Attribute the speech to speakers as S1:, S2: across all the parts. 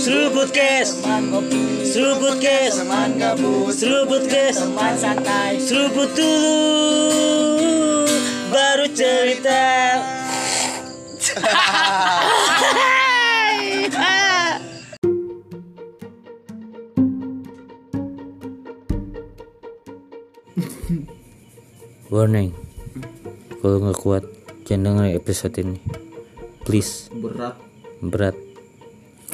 S1: Seruput kes,
S2: teman kopi
S1: seruput kes,
S2: teman gabut
S1: seruput kes,
S2: teman santai
S1: seruput dulu, baru cerita. Warning, kalau nggak kuat, jangan dengerin episode ini. Please.
S3: berat
S1: berat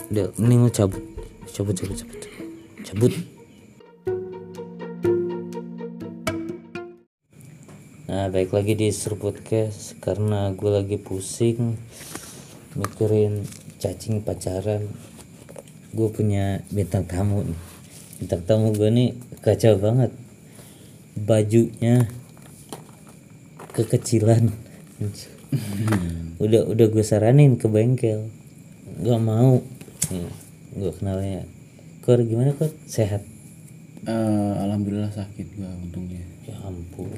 S1: udah mending lu cabut cabut cabut cabut cabut nah baik lagi di seruput kes karena gue lagi pusing mikirin cacing pacaran gue punya bintang tamu nih bintang tamu gue nih kacau banget bajunya kekecilan udah udah gue saranin ke bengkel gak mau nih gue kenalnya kor gimana kor sehat
S3: Eh, alhamdulillah sakit gua untungnya
S1: ya ampun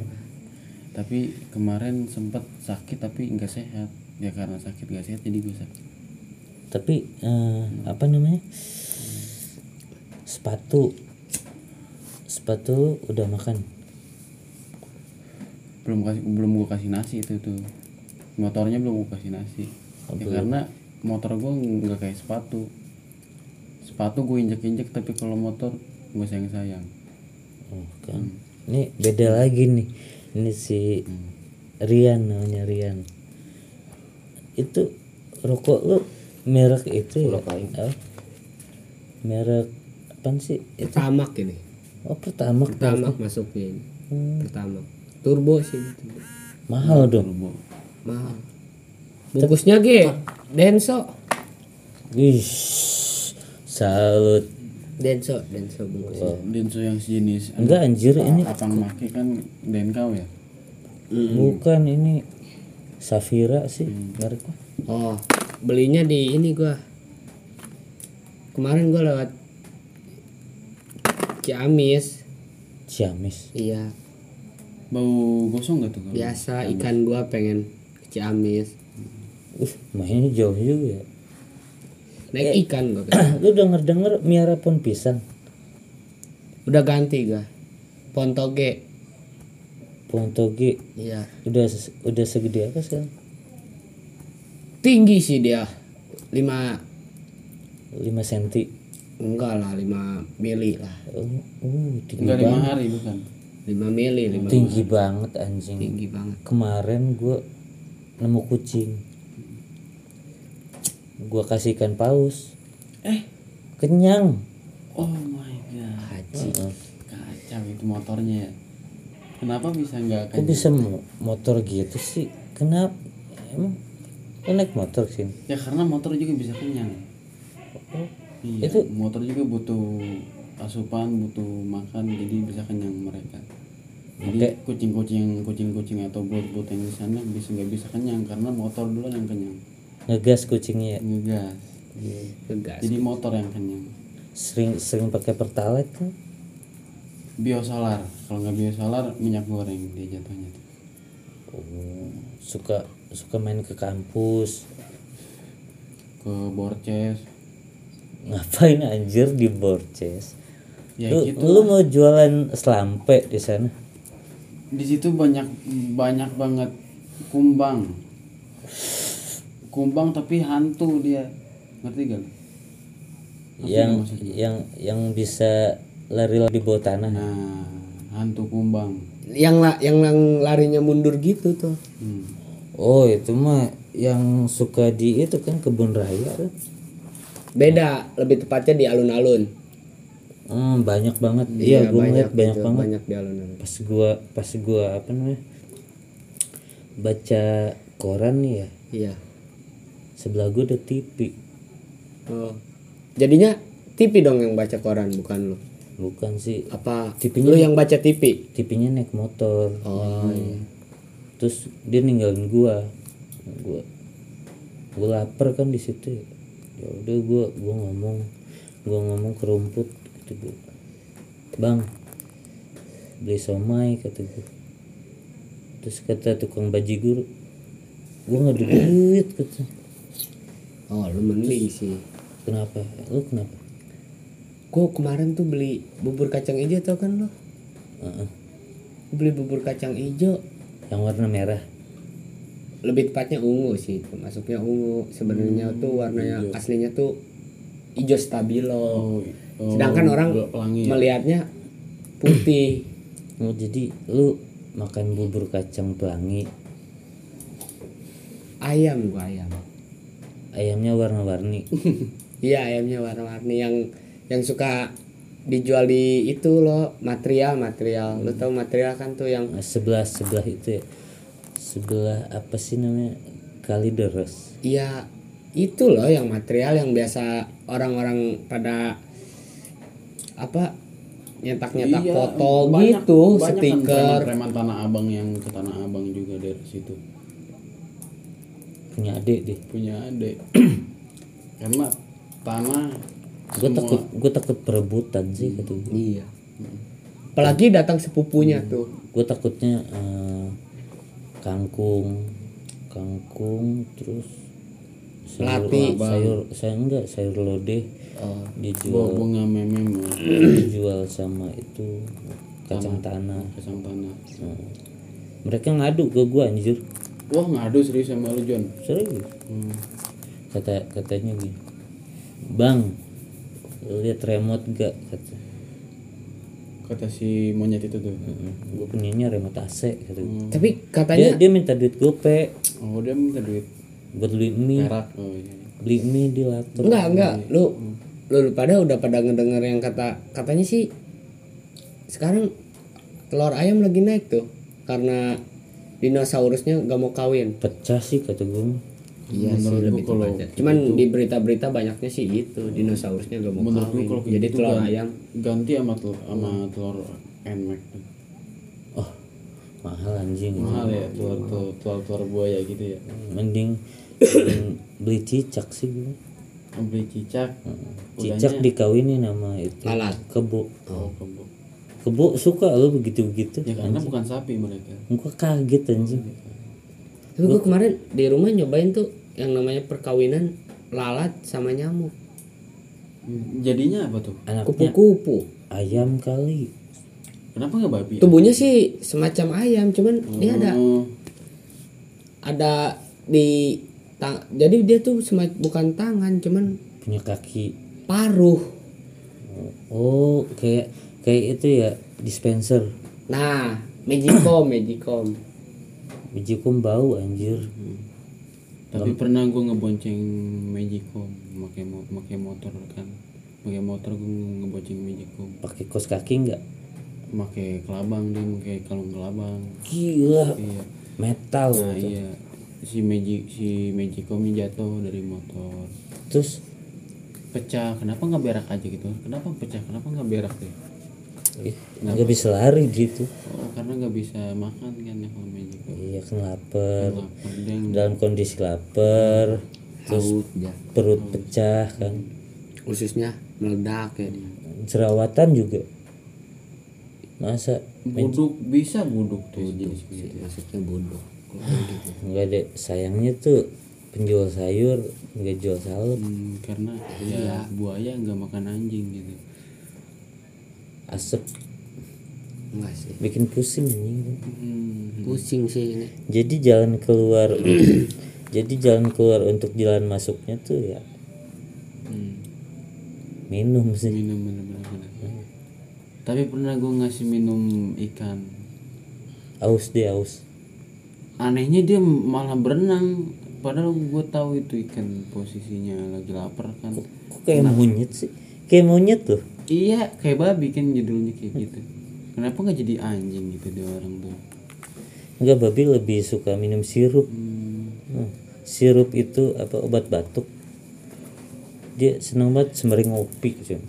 S3: tapi kemarin sempet sakit tapi nggak sehat ya karena sakit nggak sehat jadi gua sakit
S1: tapi eh, apa namanya sepatu sepatu udah makan
S3: belum kasih belum gua kasih nasi itu tuh motornya belum gua kasih nasi ya karena motor gua nggak kayak sepatu sepatu gua injek injek tapi kalau motor gua sayang sayang
S1: oh, kan ini beda lagi nih ini si Rian namanya Rian itu rokok lu merek itu ya? Apa? merek apa sih itu
S4: pertamak ini
S1: oh pertama
S4: pertamak masukin pertama turbo sih gitu.
S1: mahal dong
S4: mahal bungkusnya ge denso
S1: Wih, salut.
S4: denso denso bungkusnya
S3: denso yang sejenis
S1: Enggak anjir ini
S3: abang maki kan denkau ya
S1: bukan ini Safira sih mereknya.
S4: oh belinya di ini gua kemarin gua lewat Ciamis
S1: Ciamis.
S4: iya
S3: bau gosong nggak tuh kalau
S1: Ya.
S4: biasa ikan gua pengen ke Ciamis
S1: Uh, mainnya jauh juga. ya.
S4: naik ikan gua ke-
S1: Lu denger denger miara pun pisang.
S4: udah ganti gua pontoge
S1: Pontogi
S4: iya
S1: udah se- udah segede apa sekarang?
S4: tinggi sih dia lima
S1: 5 senti.
S4: enggak lah lima mili lah
S1: Uh, uh, tinggi
S3: nggak lima
S1: banget.
S3: hari bukan
S4: 5 mili 5
S1: Tinggi banget anjing.
S4: tinggi banget
S1: Kemarin gua nemu kucing. Gua kasihkan paus.
S3: eh
S1: Kenyang.
S3: oh my god
S4: haji
S3: Kacau itu motornya ya. Kenapa bisa nggak
S1: Kok
S3: kayak
S1: bisa mo- motor gitu sih? Kenapa? Emang lo naik motor sih?
S3: Ya karena motor juga bisa kenyang. Iya,
S1: Itu-
S3: motor juga butuh asupan, butuh makan, jadi bisa kenyang mereka. Jadi kucing-kucing, kucing-kucing atau bot-bot yang di sana bisa nggak bisa kenyang karena motor duluan yang kenyang.
S1: Ngegas kucingnya ya?
S3: Ngegas.
S4: gegas
S3: Jadi motor yang kenyang.
S1: sering sering pakai pertalite kan?
S3: Biosolar, kalau nggak biosolar minyak goreng dia jatuhnya. tuh.
S1: Oh, suka suka main ke kampus.
S3: Ke borces.
S1: Ngapain anjir di Borces?
S3: Ya
S1: lu,
S3: gitu.
S1: lu mau jualan selampe di sana?
S3: di situ banyak banyak banget kumbang kumbang tapi hantu dia ngerti gak lu?
S1: yang yang yang bisa lari di bawah tanah.
S3: nah hantu kumbang
S4: yang la, yang lang- larinya mundur gitu tuh
S3: hmm.
S1: Oh, itu mah yang suka di itu kan kebun raya. kan?
S4: beda lebih tepatnya di alun-alun
S1: Hmm, banyak banget. Iya, gua ngeliat banyak
S4: gitu,
S1: banget.
S4: banyak di alun-alun
S1: pas gua pas gua apa namanya baca koran nih ya
S4: iya
S1: sebelah gua ada TV
S4: oh jadinya TV dong yang baca koran bukan lu
S1: bukan sih
S4: apa
S1: TV
S4: lu yang baca TV
S1: TV-nya naik motor
S4: oh iya
S1: terus dia ninggalin gua gua gua lapar kan di situ ya udah gua gua ngomong gua ngomong ke rumput gitu gua bang beli somai kata gua terus kata tukang baji guru gua nggak ada duit kata
S4: oh lu mending sih
S1: Kenapa? Lu kenapa?
S4: gue kemarin tuh beli bubur kacang hijau tau kan lo
S1: Heeh.
S4: beli bubur kacang hijau
S1: yang warna merah
S4: lebih tepatnya ungu sih masuknya ungu sebenarnya
S3: Hmm,
S4: tuh warnanya aslinya tuh hijau stabilo
S3: Oh,
S4: sedangkan orang
S3: ya.
S4: melihatnya putih
S1: oh, jadi lu makan bubur kacang pelangi
S4: ayam gua ayam
S1: ayamnya warna-warni
S4: iya ayamnya warna-warni yang yang suka dijual di itu loh material material
S3: Hmm.
S4: lo tau material kan tuh yang
S1: Nah, sebelah sebelah itu ya sebelah apa sih namanya kalideres
S4: Iya itu loh yang material yang biasa orang-orang pada apa nyetak-nyetak
S3: Iya,
S4: foto
S3: banyak-
S4: gitu
S3: banyak kan
S4: stiker
S3: preman-preman tanah abang yang ke tanah abang juga dari situ
S1: punya adik deh
S3: punya adek karena tanah
S1: gue
S3: semua-
S1: takut gue takut perebutan sih kata gua.
S4: iya Hmm. apalagi datang sepupunya tuh
S1: gue takutnya eh, kangkung kangkung terus sayur
S4: Melati.
S1: sayur saya enggak sayur lodeh
S4: Oh,
S3: eh,
S4: iya.
S3: Gua-
S1: dijual
S3: gua nggak meme mau
S1: dijual sama itu kacang tanah
S3: pasang tanah
S1: Nah, mereka ngadu ke gue anjir
S3: wah ngadu serius sama lu Hmm, John
S1: serius kata katanya gini bang lu lihat remote gak kata
S3: kata si monyet itu tuh
S1: gue punyanya remote AC kata gua.
S4: tapi
S1: dia,
S4: katanya
S1: dia minta duit gope
S3: oh dia minta duit
S1: buat beli mie
S3: perak oh iya
S1: beli mie di laptop
S4: enggak enggak lu lu lu pada udah pada ngedenger yang kata katanya sih sekarang telur ayam lagi naik tuh karena dinosaurusnya gak mau kawin
S1: pecah sih kata gue
S4: Iya sih lebih tepatnya.
S3: gitu
S4: Cuman di berita-berita banyaknya sih itu dinosaurusnya gak mau
S3: menurut gua
S4: kawin.
S3: kalau
S4: Jadi
S3: gitu
S4: telur
S3: gan-
S4: ayam.
S3: ganti sama telur sama telur nmax tuh.
S1: oh mahal anjing
S3: mahal ya telur telur telur, telur buaya gitu ya
S1: mending mending beli cicak sih gue
S3: beli cicak
S1: cicak dikawinin sama itu
S4: Lalat.
S1: kebo
S3: oh kebo
S1: kebo suka lo begitu begitu
S3: ya karena bukan sapi mereka
S1: gue kaget anjing
S4: Tapi gue kemarin di rumah nyobain tuh yang namanya perkawinan lalat sama nyamuk.
S3: jadinya apa tuh
S1: anaknya
S4: Kupu-kupu.
S1: ayam kali
S3: kenapa nggak babi
S1: Iya.
S4: Tubuhnya sih semacam ayam, cuman dia ada
S1: Hmm.
S3: Oh,
S4: ada di tang- jadi dia tuh sema- bukan tangan, cuman
S1: punya kaki
S4: paruh.
S1: oh kayak kayak itu ya dispenser
S4: Nah, magicom, magicom.
S1: bijikum bau anjir
S3: tapi pernah gue ngebonceng magicom pakai mo pakai motor kan pakai motor gue ngebonceng magicom
S1: pakai kos kaki nggak
S3: pakai kelabang dia pakai kalung kelabang
S1: gila
S3: iya
S1: metal
S3: nah iya si magic si magicom jatuh dari motor
S1: terus
S3: pecah kenapa nggak berak aja gitu kenapa pecah kenapa nggak berak deh
S1: ih, nggak bisa lari gitu
S3: oh karena nggak bisa makan kan ya kalau magicom
S1: iya kan lapar
S3: lapar dia yang
S1: dalam kondisi lapar terus
S4: Ya,
S1: perut pecah kan
S4: ususnya meledak ya.
S1: jerawatan juga masa
S3: buduk bisa buduk tuh jenis gitu
S4: Maksudnya bodoh. gitu?
S1: nggak ada sayangnya tuh penjual sayur nggak jual salad
S3: Hmm, karena ya buaya nggak makan anjing gitu
S1: asap
S4: Enggak sih.
S1: bikin pusing anjing
S3: Hmm,
S4: Pusing sih ini.
S1: jadi jalan keluar jadi jalan keluar untuk jalan masuknya tuh ya
S3: hmm.
S1: minum sih
S3: minum bener bener, bener. tapi pernah gue ngasih minum ikan
S1: aus deh aus
S3: anehnya dia malah berenang padahal gue tahu itu ikan posisinya lagi lapar kan
S1: kok kayak monyet sih kayak monyet tuh
S3: iya kayak babi kan judulnya kayak gitu kenapa nggak jadi anjing gitu dia orang tuh
S1: nggak babi lebih suka minum sirup
S3: Hmm,
S1: Hmm. sirup itu apa obat batuk dia seneng banget sembari ngopi cuy
S3: eh,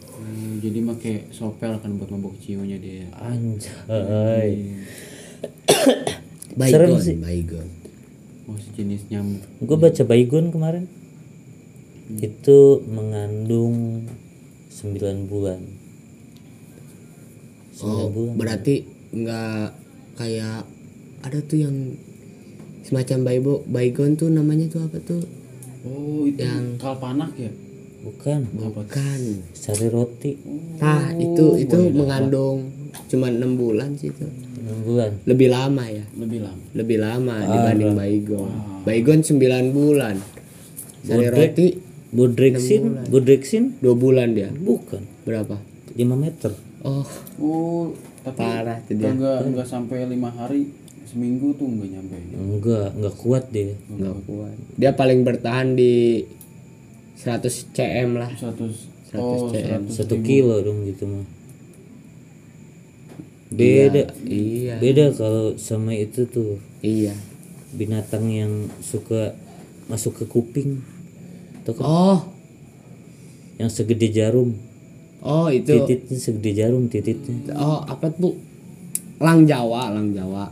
S3: jadi pakai sopel kan buat mabok ciunya dia
S1: anjay
S4: Baygon,
S1: sih.
S4: baygon.
S3: masih jenis nyamuk
S1: gue baca baygon kemarin itu mengandung 9 bulan 9
S4: Oh,
S1: bulan
S4: berarti nggak kayak ada tuh yang semacam baybo baygon tuh namanya tuh apa tuh?
S3: oh itu
S4: Yang-
S3: kalpanak ya
S1: bukan
S4: bukan
S1: sari roti
S4: nah itu itu mengandung cuma enam bulan sih itu
S1: enam bulan
S4: lebih lama ya
S3: lebih lama
S4: lebih lama dibanding baygon baygon 9 bulan sari
S1: Bodrek.
S4: roti
S1: bodrexin bodrexin
S4: dua bulan dia
S1: bukan
S4: berapa
S1: 5 meter
S4: oh
S3: oh tapi
S4: parah tuh dia
S3: enggak enggak sampai lima hari seminggu tuh enggak nyampe
S1: enggak enggak kuat dia
S4: nggak kuat dia paling bertahan di 100 cm lah
S3: 100 oh 100
S1: satu kilo dong gitu mah beda
S4: iya
S1: beda kalau sama itu tuh
S4: iya
S1: binatang yang suka masuk ke kuping atau ke-
S4: oh
S1: yang segede jarum
S4: oh itu
S1: titiknya segede jarum titiknya
S4: oh apa tuh lang Jawa lang Jawa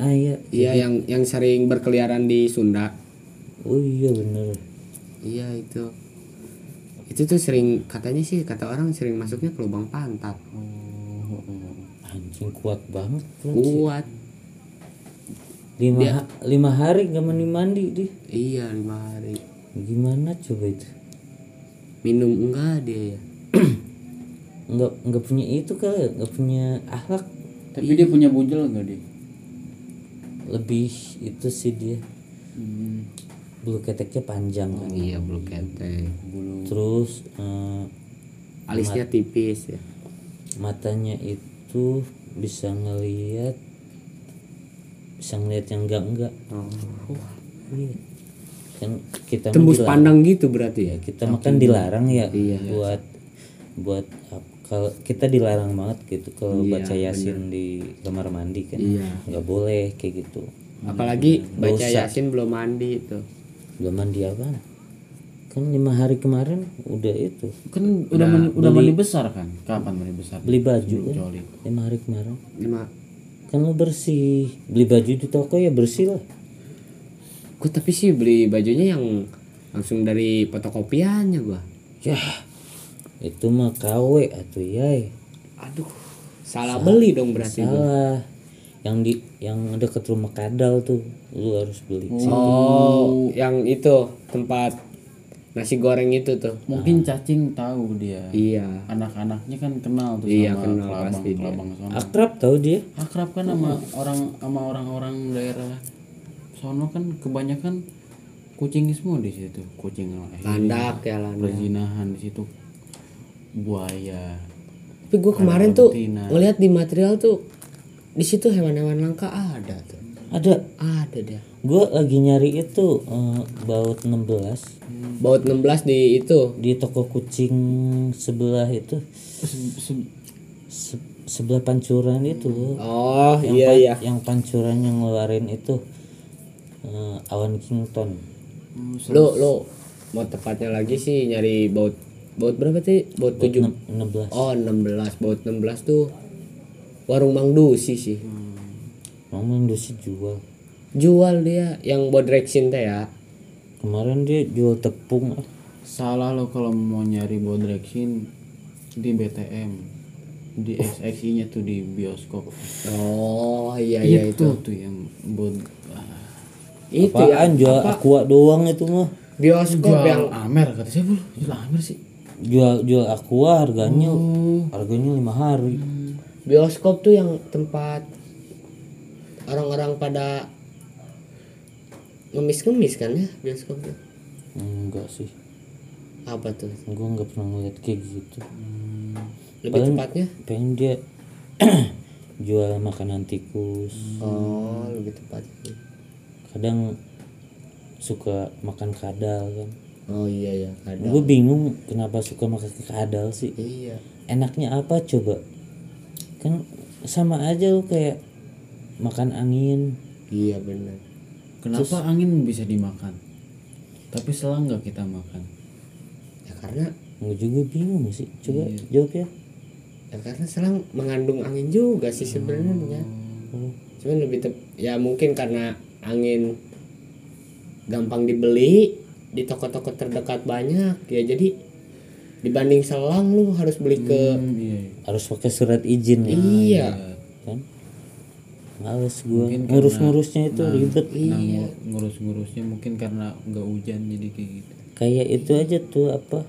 S1: ah iya
S4: iya yang yang sering berkeliaran di Sunda
S1: oh iya bener
S4: iya itu itu tuh sering katanya sih kata orang sering masuknya ke lubang pantat
S3: Oh, oh, oh.
S1: anjing kuat banget tuh.
S4: kuat
S1: lima ha- lima hari gak mandi mandi dia
S4: iya lima hari
S1: gimana coba itu
S4: minum enggak dia ya
S1: nggak nggak punya itu kali ya? nggak punya akhlak
S3: tapi dia punya bujel enggak dia
S1: lebih itu sih dia bulu keteknya panjang kan
S4: iya bulu ketek
S1: terus eh,
S4: alisnya tipis ya
S1: matanya itu bisa ngelihat bisa ngelihat yang enggak enggak iya kan kita
S4: tembus
S1: mah dilarang-
S4: pandang gitu berarti ya
S1: ya, kita makan dilarang ya
S4: Iya.
S1: buat buat ap- kalau kita dilarang banget gitu kalau baca yasin di kamar mandi kan
S4: Iya.
S1: nggak boleh kayak gitu
S4: apalagi baca
S1: Dosa.
S4: yasin belum mandi itu
S1: belum mandi apa kan lima hari kemarin udah itu
S3: kan udah mani- udah mandi besar kan kapan mandi besar
S1: beli baju
S4: Hmm,
S1: kan
S3: joli
S1: lima hari kemarin
S4: lima
S1: kan lu bersih beli baju di toko ya bersih lah
S4: Gue tapi sih beli bajunya yang langsung dari fotokopiannya gua.
S1: ya itu mah KW atau yai
S4: Aduh, salah beli dong berarti gua.
S1: salah yang di yang deket rumah kadal tuh lu harus beli
S4: Oh, yang itu tempat nasi goreng itu tuh.
S3: mungkin cacing tahu dia
S4: Iya.
S3: anak-anaknya kan kenal tuh
S4: Iya,
S3: sama
S4: kenal
S3: kelabang
S4: pasti dia.
S3: kelabang sono
S1: akrab tau dia
S3: akrab kan sama orang sama orang-orang daerah sono kan kebanyakan kucing semua di situ kucing lain
S4: Landak ya landak.
S3: perzinahan di situ buaya
S4: Tapi gua kemarin tuh
S3: betina.
S4: ngeliat di material tuh di situ hewan-hewan langka ada tuh.
S1: ada
S4: Ada dia.
S1: gua lagi nyari itu eh, baut 16
S4: Baut 16 di itu.
S1: di toko kucing sebelah itu
S3: Se- se-
S1: se- sebelah pancuran itu
S4: Oh,
S1: yang,
S4: iya
S1: pan-
S4: iya.
S1: yang pancuran yang ngeluarin itu eh, awan kington
S4: Lu lu mau tepatnya lagi sih nyari baut baut berapa sih? Baut 7
S1: Nem- 16
S4: Oh 16 baut 16 tuh warung Mang Dusi sih
S1: Mama Indosi jual
S4: jual dia yang bodreksin teh ya
S1: kemarin dia jual tepung ah.
S3: salah lo kalau mau nyari bodrexin di BTM di SXI nya tuh di bioskop
S4: oh iya iya itu
S3: itu tuh yang bod ah.
S4: itu ya
S1: apaan jual aqua doang itu mah
S4: bioskop ya. yang
S3: jual Amer kata siapa lu jual Amer sih
S1: jual jual aqua harganya
S4: Hmm.
S1: harganya lima hari
S4: bioskop tuh yang tempat orang-orang pada ngemis-ngemis kan ya bioskop tuh
S1: enggak sih
S4: apa tuh
S1: gua nggak pernah ngeliat kayak gitu
S4: lebih
S1: Paling-
S4: tepatnya
S1: pengen dia jual makanan tikus
S4: oh lebih tepatnya
S1: kadang suka makan kadal kan
S4: oh iya ya ada
S1: gue bingung kenapa suka makan kadal sih
S4: iya
S1: enaknya apa coba kan sama aja lu kayak makan angin
S4: iya benar
S3: kenapa angin bisa dimakan tapi selang nggak kita makan
S4: ya karena
S1: gue juga bingung sih coba jawab ya
S4: ya karena selang mengandung angin juga sih sebenarnya ya. cuman lebih tep ya mungkin karena angin gampang dibeli di toko-toko terdekat banyak ya jadi dibanding selang lu harus beli ke
S3: Hmm, iya, iya.
S1: harus pakai surat izin ya
S4: iya
S1: kan males gue ngurus-ngurusnya itu ribet Iya.
S3: Nah, ngu- ngurus-ngurusnya mungkin karena nggak hujan jadi kayak gitu
S1: kayak itu aja tuh apa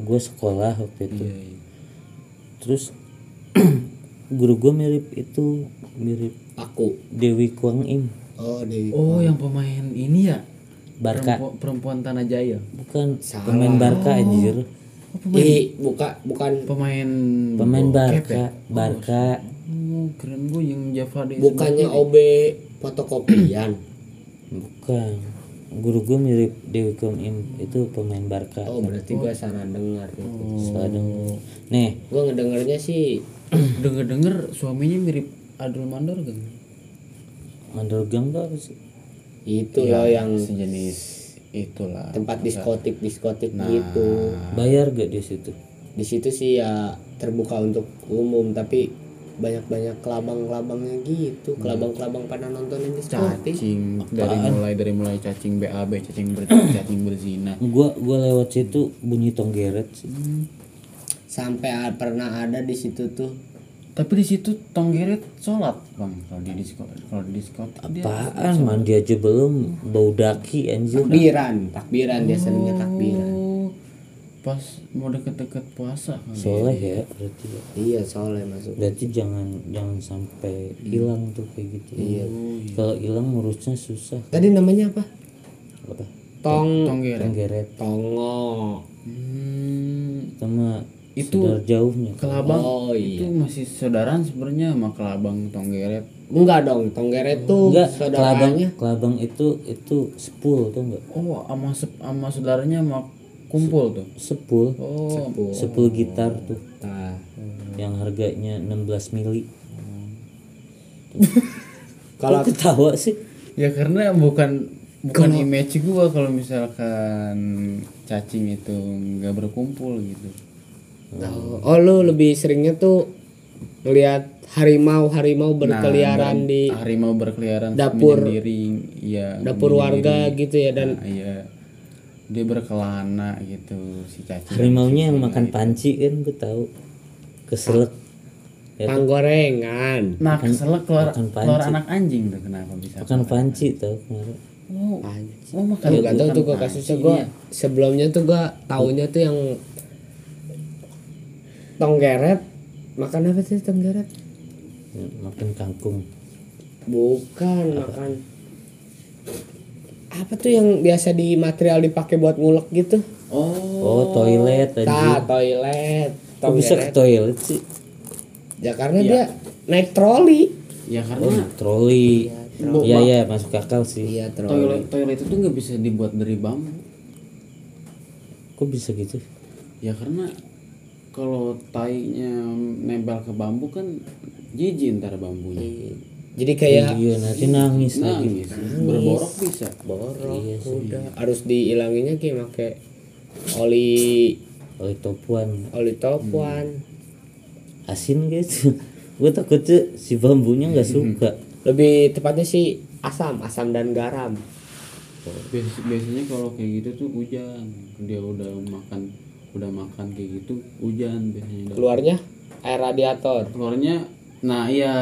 S1: gue sekolah waktu itu
S5: Iya, iya.
S1: terus guru gue mirip itu mirip
S4: aku
S1: Dewi Kuang Im
S4: oh Dewi
S3: Oh, yang pemain ini ya?
S1: Barca
S3: Perempu- Perempuan, Tanah Jaya. Oh,
S1: bukan pemain Barca anjir
S4: Ih, buka bukan
S3: Pemain
S1: Iya. pemain Barca
S3: ya?
S1: Barca
S3: Oh, keren gue yang Java di
S4: bukannya OB fotokopian
S1: bukan guru gue mirip Dewi Kuang Im itu pemain Barca
S4: oh berarti gua salah dengar
S3: Oh.
S1: Salah dong. nih
S4: gua ngedengarnya sih
S3: Denger-denger suaminya mirip Adul Mandor kan?
S1: Mandorgang tuh apa sih
S4: itu loh yang
S3: Sejenis itulah.
S4: tempat diskotik diskotik gitu
S1: bayar gak di situ
S4: di situ sih ya terbuka untuk umum tapi banyak-banyak kelabang-kelabangnya gitu kelabang-kelabang pada nontonin diskotik
S3: Cacing dari mulai dari mulai cacing BAB, cacing ber cacing berzina.
S1: gua gua lewat situ bunyi tonggeret sih
S4: sampai a- pernah ada di situ tuh
S3: Tapi di situ tonggeret sholat bang kalau di diskot kalau di diskot
S1: apaan mandi aja belum bau daki
S4: Iya,
S1: anjir
S4: takbiran Oh. takbiran biasanya takbiran
S3: pas mau deket-deket puasa kali.
S1: soleh ya berarti ya.
S4: iya soalnya masuk
S1: berarti jangan jangan sampai hilang tuh kayak gitu iya. kalau hilang ngurusnya susah
S4: tadi namanya apa
S1: apa Kan
S4: tong
S3: tonggeret.
S1: tonggeret
S4: tongo
S3: Hmm,
S1: sama
S3: Itu-
S1: saudara jauhnya
S3: kelabang
S4: Oh,
S3: itu masih saudaraan sebenarnya sama kelabang tonggeret.
S4: enggak dong tonggeret tuh
S1: enggak kelabang
S4: saudaranya
S1: kelabang itu itu sepul tuh enggak
S3: Oh, sama sep- sama saudaranya sama kumpul tuh.
S1: sepul
S3: Oh,
S1: sepul gitar tuh
S4: Nah,
S1: yang harganya 16 mili
S4: kalau
S1: Kok ketawa sih
S3: Ya karena bukan bukan image gua kalau misalkan cacing itu nggak berkumpul gitu.
S4: oh lu lebih seringnya tuh ngelihat harimau harimau berkeliaran di
S3: Harimau berkeliaran
S4: Iya. Dapur-
S3: menyendiri, ya
S4: dapur warga gitu ya dan
S3: Nah, iya. Dia berkelana gitu si cacing.
S1: harimaunya yang makan panci kan gue tahu keselak ya,
S4: panggorengan
S3: Nah, keselak keluar,
S1: makan panci.
S3: keluar anak anjing tuh kenapa bisa?
S1: makan panci tau kemarin
S3: Oh, oh makan.
S4: Tuh, gak tau
S3: makan
S4: Kan tuh gua
S3: panci.
S4: kasusnya gua sebelumnya tuh gua taunya tuh yang tonggeret makan apa sih tonggeret
S1: makan kangkung
S4: bukan makan apa tuh yang biasa di material dipakai buat ngulek gitu
S3: Oh,
S1: oh toilet
S4: nah
S1: tadi
S4: toilet
S1: kok bisa ke
S4: tonggeret
S1: toilet sih
S4: ya karena dia naik troli
S3: ya karena
S1: oh troli ya ya masuk akal sih
S4: iya
S3: toilet toilet itu nggak bisa dibuat dari bambu.
S1: kok bisa gitu
S3: Ya karena kalau tainya nempel ke bambu kan jijik ntar bambunya.
S4: jadi kayak
S1: iya nanti nangis lagi
S3: Nangis, berborok bisa.
S4: borok udah harus dihilanginnya kayak pakai oli
S1: oleh topuan
S4: oli topuan
S1: asin gitu gue takutnya si bambunya nggak suka
S4: lebih tepatnya sih asam asam dan garam
S3: Bias- biasanya kalau kayak gitu tuh hujan. Dia udah makan udah makan kayak gitu hujan biasanya.
S4: keluarnya air radiator
S3: keluarnya nah iya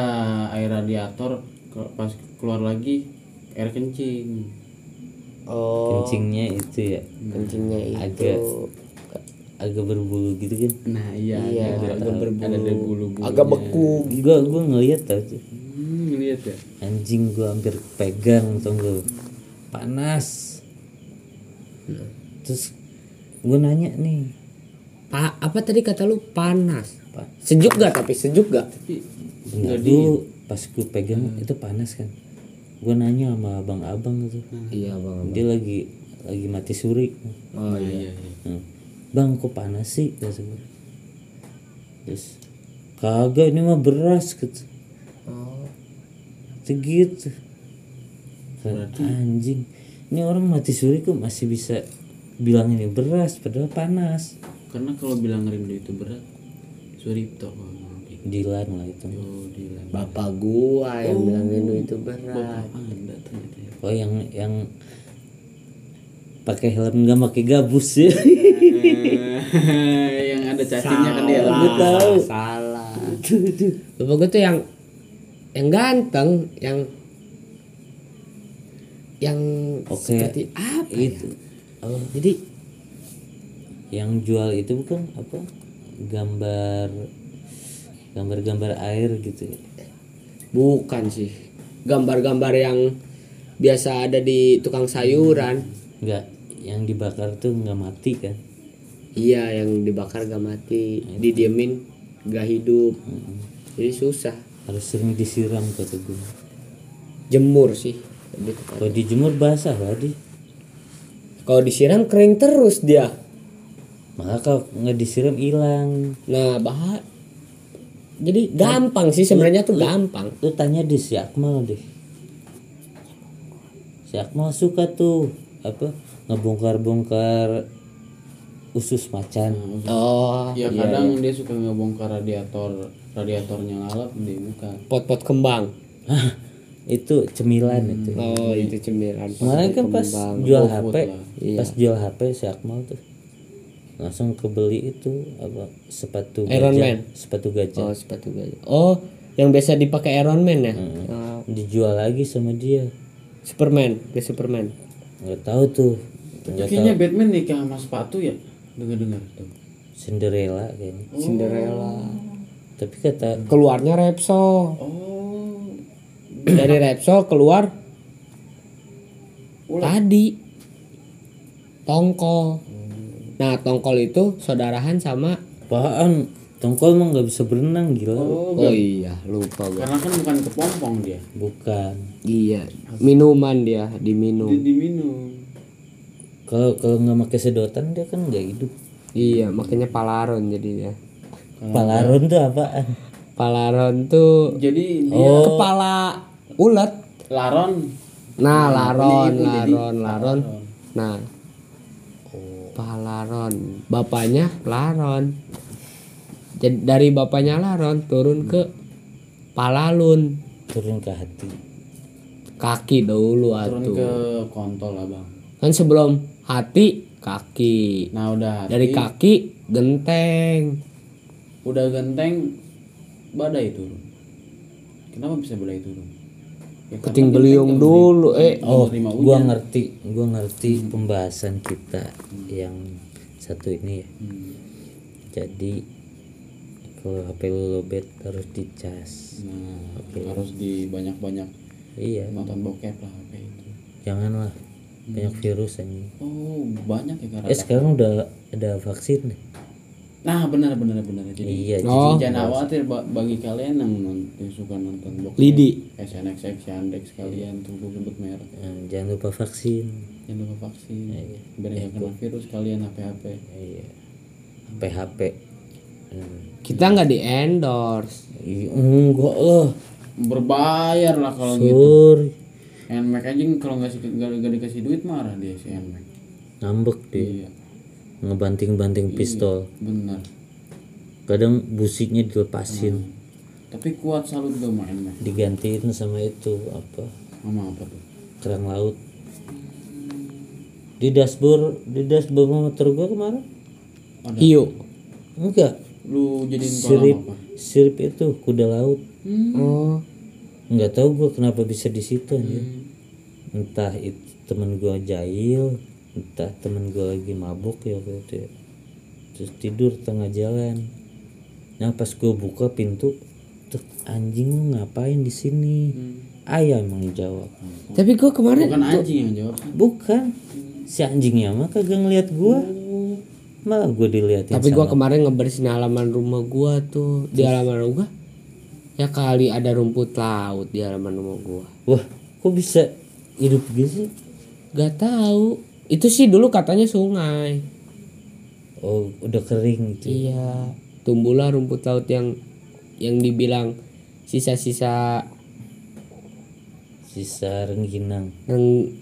S3: air radiator ke- pas keluar lagi air kencing
S4: oh
S1: kencingnya itu ya
S4: kencingnya itu
S1: agak agak berbulu gitu kan
S3: nah iya,
S4: Iya,
S3: ada, ada, ada bulu bulu
S4: agak beku
S1: gue gue ngeliat tau tuh
S3: hmm, lihat ya
S1: anjing gua hampir pegang tunggu panas terus gua nanya nih
S4: Pa- apa tadi kata lu panas
S1: Pa-
S4: sejuk gak tapi sejuk gak
S3: tapi
S1: bentar dulu pas gua pegang itu panas kan gua nanya sama abang-abang itu
S4: iya bang
S1: dia lagi lagi mati suri
S3: oh iya, iya.
S1: Hmm. bang kok panas sih kata gua. terus kagak ini mah beras gitu
S4: oh
S1: segitu anjing ini orang mati suri kok masih bisa bilang ini beras padahal panas
S3: karena kalau bilang rindu itu berat suripto kalau ngomong kayak gitu.
S1: dilan lah itu
S3: oh dilan
S4: bapak gua yang bilang rindu itu berat
S3: anda ternyata ya.
S1: oh yang yang pakai helm nggak pakai gabus ya
S3: Eh, yang ada cacingnya kan dia
S4: salah,
S1: Gua tahu.
S4: salah bapak gua tuh yang yang ganteng yang yang
S1: Oke.
S4: seperti apa ya?
S1: itu oh,
S4: jadi
S1: yang jual itu bukan apa gambar gambar-gambar air gitu
S4: Bukan sih. Gambar-gambar yang biasa ada di tukang sayuran.
S1: nggak yang dibakar tuh nggak mati kan
S4: Iya, yang dibakar gak mati, didiemin gak hidup. Jadi susah.
S1: harus sering disiram kata gue
S4: Jemur sih. lebih tepat.
S1: kalau dijemur basah lah di
S4: Kalau disiram kering terus dia.
S1: maka kalau nggak disiram hilang
S4: Nah, bahaya. Jadi gampang sih sebenarnya tuh gampang.
S1: lu tanya di si Akmal deh si Akmal suka tuh apa ngebongkar-bongkar usus macan
S4: Oh,
S3: ya kadang dia suka ngebongkar radiator radiatornya ngalap dia buka
S4: pot-pot kembang.
S1: Hah, itu cemilan itu
S4: Oh, itu cemilan.
S1: kemarin kan pas jual
S3: GoFood
S1: HP
S3: lah. iya.
S1: pas jual HP si Akmal tuh langsung kebeli itu apa sepatu
S4: Iron Man.
S1: gajah sepatu gajah
S4: Oh, sepatu gajah. Oh, yang biasa dipakai Iron Man ya? Oh,
S1: dijual lagi sama dia
S4: Superman, ke Superman.
S1: nggak tahu tuh nggak tahu
S3: kayaknya Batman nikah sama sepatu ya dengar dengar tuh
S1: Cinderella
S3: Hmm.
S1: kayaknya
S4: Cinderella.
S1: tapi kata
S4: Keluarnya Repsol.
S3: oh
S4: Dari Repsol keluar tadi tongkol. Nah, tongkol itu saudarahan sama
S1: apaan tongkol mah nggak bisa berenang gila
S3: oh
S4: Oh iya, lupa gua.
S3: karena kan bukan kepompong dia
S1: bukan
S4: Iya, minuman dia diminum.
S3: dia diminum
S1: kalau kalau nggak pakai sedotan dia kan nggak hidup
S4: Iya, makanya Palaron jadinya.
S1: palaron tuh apaan
S4: Palaron tuh
S3: jadi dia
S4: Oh. kepala ulet.
S3: laron
S4: Nah, laron, laron, laron. Nah.
S3: Oh.
S4: Pak Laron, bapaknya Laron. Jadi dari bapaknya Laron turun ke
S3: Hmm.
S4: Palalun.
S1: turun ke hati
S4: Kaki dulu
S3: turun
S4: atuh.
S3: ke kontol abang
S4: Kan sebelum hati kaki.
S3: nah udah
S4: Dari
S3: hati,
S4: kaki genteng.
S3: udah genteng badai turun kenapa bisa badai turun ya, karena
S4: Keting
S3: genteng
S4: beliung
S3: nggak menerima-
S4: dulu eh
S3: nggak
S1: oh
S3: menerima
S1: gua
S3: hujan.
S1: ngerti gua ngerti pembahasan kita yang satu ini ya
S3: Hmm.
S1: jadi kalau HP lu lobet harus dicas
S3: nah harus dibanyak banyak
S1: iya
S3: nonton bokep lah HP itu
S1: janganlah banyak
S3: Hmm.
S1: virus anjing
S3: oh banyak ya karena
S1: eh sekarang udah ada vaksin nih
S3: nah benar benar benar jadi
S1: iya
S4: Oh.
S3: jangan khawatir ba- bagi kalian yang, non- yang suka nonton bokep
S4: Lidi.
S3: SNXX Yandex kalian tuh gua sebut merek
S1: Eh, jangan lupa vaksin
S3: jangan lupa vaksin
S4: Iya,
S3: biar nggak kena virus kalian HP HP
S1: iya PHP Hmm.
S4: kita nggak di endorse.
S1: Ih, enggak lah
S3: berbayar lah kalau gitu
S1: sur
S3: Nmac aja kalau nggak si- nggak nggak dikasih duit marah dia si Nmac
S1: ngambek deh
S3: iya
S1: ngebanting-banting pistol
S3: benar
S1: kadang busiknya
S3: Hmm.
S1: dilepasin
S3: tapi kuat salut gue sama Nmac
S1: digantiin sama itu apa
S3: sama apa tuh
S1: kerang laut di dashboard di dashboard motor gua kemarin
S3: ada
S4: Hiu.
S1: enggak
S3: lu jadiin
S1: sirip
S3: kolam apa
S1: sirip itu kuda laut
S3: hmm.
S4: Oh.
S1: nggak tahu gua kenapa bisa di situ anjir. entah itu temen gua jahil entah temen gua lagi mabuk ya waktu itu ya. terus tidur tengah jalan nah pas gua buka pintu tek, anjing lu ngapain di sini ayah emang jawab
S4: Tapi gua kemarin
S3: bukan anjing yang jawab sih.
S1: bukan si anjingnya mah kagak ngeliat gua malah gua diliatin
S4: Tapi gua
S1: sama-
S4: kemarin ngebersihin halaman rumah gua tuh di halaman rumah gua, ya kali ada rumput laut di halaman rumah gua.
S1: wah kok bisa hidup gitu sih
S4: Gak tahu. Itu sih dulu katanya sungai.
S1: oh udah kering gitu
S4: Iya. Tumbuhlah rumput laut yang yang dibilang sisa-sisa
S1: sisa rengginang
S4: reng-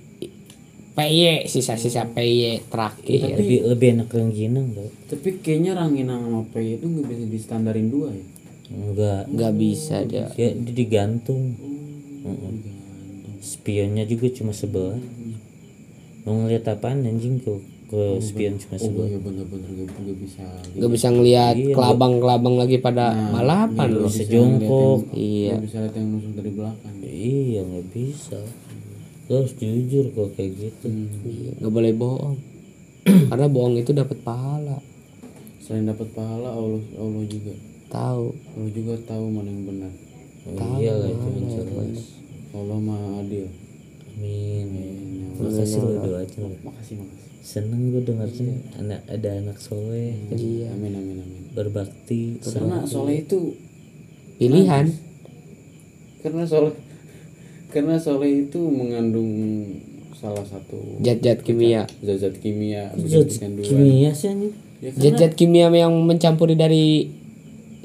S4: PY, sisa-sisa PY terakhir.
S1: Iya, lebih lebih enak rengginang tuh
S3: tapi kayaknya ranginang sama P itu nggak bisa distandarin dua ya
S1: enggak
S4: Gak bisa dia.
S1: dia, dia digantung
S4: Oh,
S3: Oh,
S4: iya.
S1: Mm-mm. spionnya juga cuma sebelah mau ngeliat apaan anjing ke ke spion
S3: oh
S1: cuma sebelah
S3: iya bener-bener nggak- nggak bisa
S4: Gak bisa ngelihat kelabang-kelabang lagi pada balapan
S3: Nggak
S4: loh.
S3: bisa
S1: sejongkok.
S3: lihat yang-
S4: Iya.
S3: nggak bisa lihat yang nusuk dari belakang
S1: iya nggak bisa Lo harus jujur kok kayak gitu
S4: Hmm. Iya, Gak boleh bohong. karena bohong itu dapat pahala
S3: Selain dapat pahala Allah Allah juga
S4: tahu
S3: Allah juga tahu mana yang benar.
S1: Oh, iya lah itu yang jelas.
S3: Allah maha adil.
S1: Amin.
S4: Iya.
S3: Amin.
S1: Makasih lo doanya lo.
S3: Makasih makasih.
S1: Seneng gue dengarnya anak ada anak soleh kan,
S3: Amin amin amin.
S1: berbakti.
S3: Iya. Karena soleh itu
S4: pilihan
S3: karena soleh karena soleh itu mengandung salah satu
S4: zat-zat kimia
S3: zat-zat kimia
S1: Zat
S3: begitu kandungan.
S1: kimia sih anjing.
S4: Iya,
S3: Ya, kan?
S4: zat-zat kimia yang mencampuri dari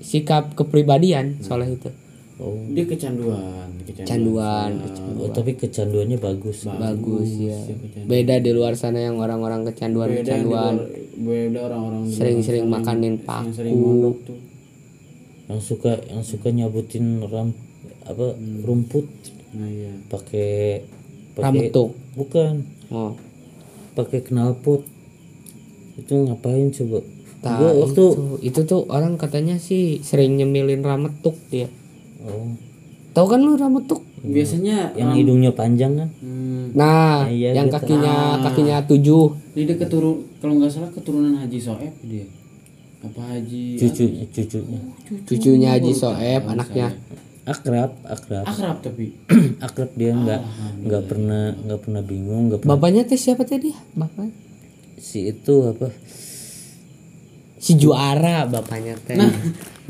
S4: sikap kepribadian soalnya itu
S1: Oh,
S3: dia kecanduan kecanduan
S4: Canduan,
S3: sana.
S1: oh, tapi kecanduannya bagus.
S4: bagus ya
S3: ya, kecanduan.
S4: beda di luar sana yang orang-orang kecanduan
S3: beda yang di
S4: kecanduan
S3: luar- beda orang-orang di luar
S4: Sering-sering
S3: sana
S4: makanin
S3: yang sering
S4: paku.
S3: mondok tuh
S1: Yang suka yang suka nyabutin ram apa rumput
S3: nah iya
S1: pakai pakai
S4: rametuk
S1: bukan
S4: oh
S1: pakai knalpot itu ngapain coba
S4: Tah,
S1: gua waktu
S4: itu, itu tuh orang katanya sih sering nyemilin rametuk dia
S1: oh
S4: tahu kan lu rametuk
S3: biasanya
S4: Hmm.
S1: yang hidungnya panjang kan
S3: hmm,
S4: nah
S1: Iya,
S4: yang
S1: gitu.
S4: kakinya kakinya tujuh
S3: dia keturun kalau nggak salah keturunan Haji Soeb dia apa Haji
S1: cucunya cucunya
S4: cucunya Haji Soeb anaknya
S1: akrab akrab
S3: akrab tapi
S1: akrab dia nggak nggak pernah nggak pernah bingung nggak pernah
S4: bapaknya teh siapa tadi bapak
S1: si itu apa
S4: si juara bapaknya teh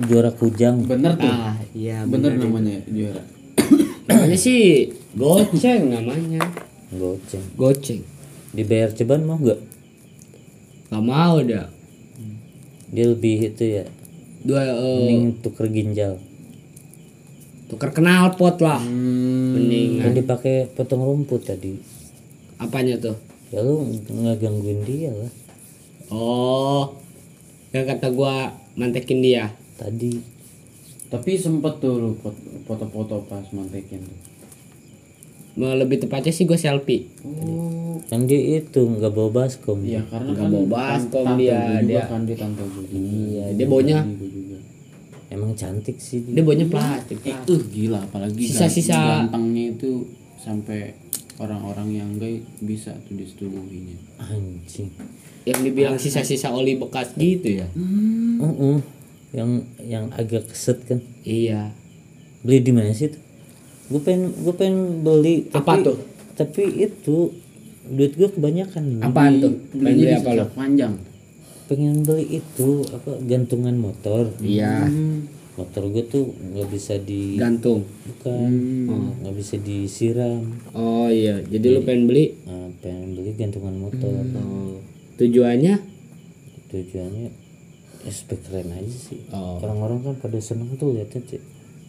S1: juara kujang
S3: bener tuh
S4: ah iya
S3: bener namanya juara
S4: namanya sih goceng namanya
S1: goceng
S4: goceng
S1: dibayar ceban mau nggak
S4: gak mau dah
S1: dia lebih itu ya
S4: dua eh,
S1: mending tuker ginjal
S4: tuker kenal pot lah Hmm. mending
S1: yang dipakai potong rumput tadi
S4: apanya tuh
S1: ya lu nggak gangguin dia lah
S4: oh yang kata gua mantekin dia
S1: tadi
S3: tapi sempet tuh lu pot- foto-foto pas mantekin tuh
S4: Mau lebih tepatnya sih gua selfie
S3: oh
S1: yang dia itu nggak bawa baskom
S3: iya karena
S4: Nggak
S3: kan
S4: bawa
S3: tan-
S4: baskom
S3: tante
S4: dia,
S3: gua juga
S4: dia.
S3: kan dia tante gue
S4: Iya, dia baunya.
S1: emang cantik sih dia.
S4: dia baunya plastik
S3: itu Eh, gila apalagi
S4: Nah. Sisa-sisa-
S3: gan- gantengnya itu sampai orang-orang yang gay bisa tuh disetubuhinya
S1: anjing
S4: yang dibilang sisa-sisa oli bekas gitu ya
S1: Uh-uh. yang yang agak keset kan
S4: iya
S1: beli di mana sih tuh gue pengen gue pengen beli tapi,
S4: Apa tuh?
S1: tapi itu duit gue kebanyakan nih.
S4: apaan tuh pengen beli
S3: belinya
S4: apa
S3: di
S4: lo
S3: sisa panjang
S1: pengen beli itu apa gantungan motor
S4: iya
S1: motor gue tuh nggak bisa di
S4: gantung
S1: bukan
S4: Hmm.
S1: nggak bisa disiram
S4: oh iya jadi lu pengen beli
S1: Nah, pengen beli gantungan motor
S4: oh. tujuannya
S1: tujuannya ya, supaya keren aja sih
S4: Oh.
S1: orang-orang kan pada seneng tuh liatnya sih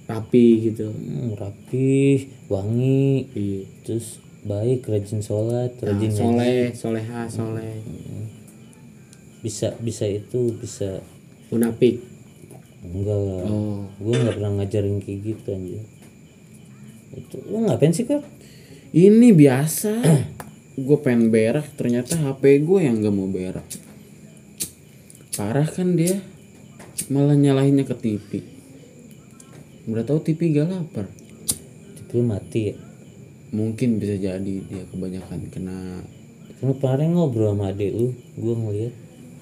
S4: rapi gitu
S1: Hmm, rapih wangi
S4: iya Nah,
S1: terus baik rajin sholat rajin ngaji.
S4: soleh soleha soleh
S1: bisa bisa itu bisa
S4: munafik
S1: enggak lah
S4: oh
S1: gue nggak pernah ngajarin kayak gitu anjir itu lu ngapain sih kok
S3: ini biasa gue pengen berak ternyata HP gue yang gak mau berak parah kan dia malah nyalahinnya ke TV udah tahu TV gak lapar
S1: tipe lu mati ya
S3: mungkin bisa jadi dia kebanyakan kena
S1: karena kemarin ngobrol sama adik lu gue ngeliat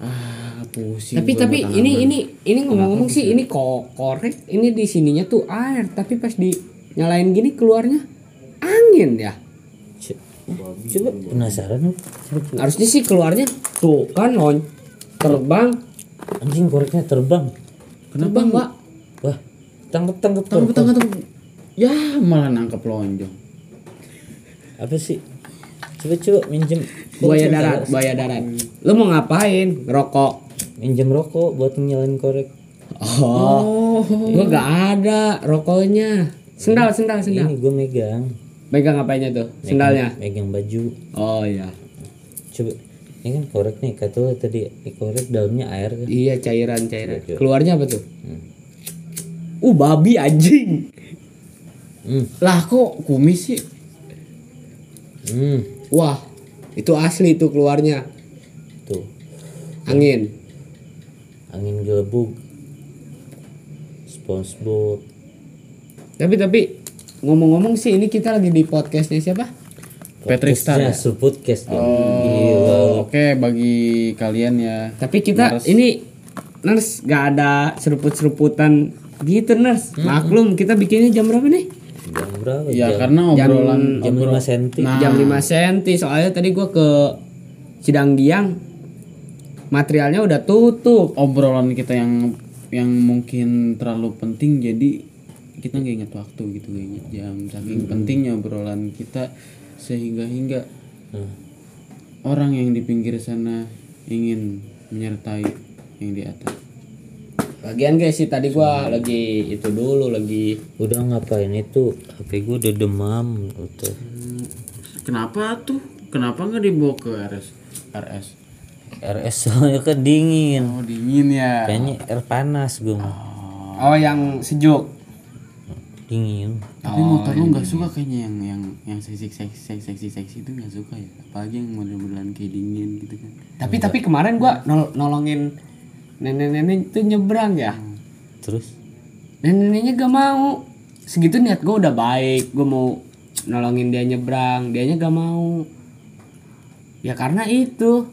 S3: ah pusing
S4: tapi
S3: gua
S4: tapi
S3: sama
S4: ini ini ini ngomong-ngomong sih ini kok korek ini di sininya tuh air tapi pas di nyalain gini keluarnya angin ya
S1: C- coba penasaran lu Coba, coba.
S4: harusnya sih keluarnya tuh kan lon terbang
S1: anjing koreknya terbang
S4: terbang mbak
S1: wah tangkep tangkep
S3: tangan
S1: tangkep
S3: tangan tangan. ya malah nangkep lonjong
S1: apa sih coba coba minjem
S4: buaya darat buaya darat lu mau ngapain ngerokok
S1: minjem rokok buat nyalain korek
S4: oh, gua gak ada rokoknya sendal sendal sendal
S1: ini gue megang
S4: Iya. megang apanya tuh sendalnya
S1: megang baju
S4: oh iya
S1: coba ini kan korek nih kata lu tadi ini korek dalamnya air kan
S4: Iya Hmm. cairan cairan.
S1: Oke.
S4: Keluarnya apa tuh? Uh babi anjing.
S1: hmm
S3: lah kok kumis sih
S1: hmm
S4: Wah itu asli tuh keluarnya
S1: tuh
S4: angin.
S1: angin gelebuk SpongeBob
S4: Tapi tapi ngomong-ngomong sih ini kita lagi di podcastnya siapa?
S3: Patrick Star ya?
S1: Justru podcast dong. Gila.
S3: Oh, oke bagi kalian ya.
S4: Tapi kita
S3: Nurse.
S4: ini nurse gak ada seruput-seruputan gitu nurse. Maklum kita bikinnya jam berapa nih?
S1: Jam berapa?
S3: ya
S1: jam,
S3: karena obrolan
S1: jam 5 senti.
S3: Nah.
S4: Jam 5 senti soalnya tadi gua ke Sidanggiang materialnya udah tutup.
S3: obrolan kita yang yang mungkin terlalu penting jadi kita nggak ingat waktu gitu nggak ingat jam saking pentingnya obrolan kita sehingga hingga Hmm.
S1: Nah,
S3: orang yang di pinggir sana ingin menyertai yang di atas
S4: Lagian guys sih tadi gua lagi itu dulu lagi
S1: udah ngapain itu? HP gue udah demam gitu.
S3: kenapa tuh kenapa nggak dibawa ke RS RS
S1: RS soalnya kan dingin.
S3: oh dingin ya
S1: Kayaknya air panas gue mah.
S4: Oh yang sejuk.
S1: Dingin.
S3: tapi motor lu nggak suka kayaknya yang yang yang seksi seksi seksi seksi, seksi itu nggak suka ya apalagi yang model-modelan kayak dingin gitu kan
S4: Tapi tapi kemarin gua nol- nolongin nenek-nenek itu nyebrang ya.
S1: Terus
S4: Nenek-neneknya gak mau. Segitu niat gua udah baik, gua mau nolongin dia nyebrang, dianya gak mau. Ya karena itu,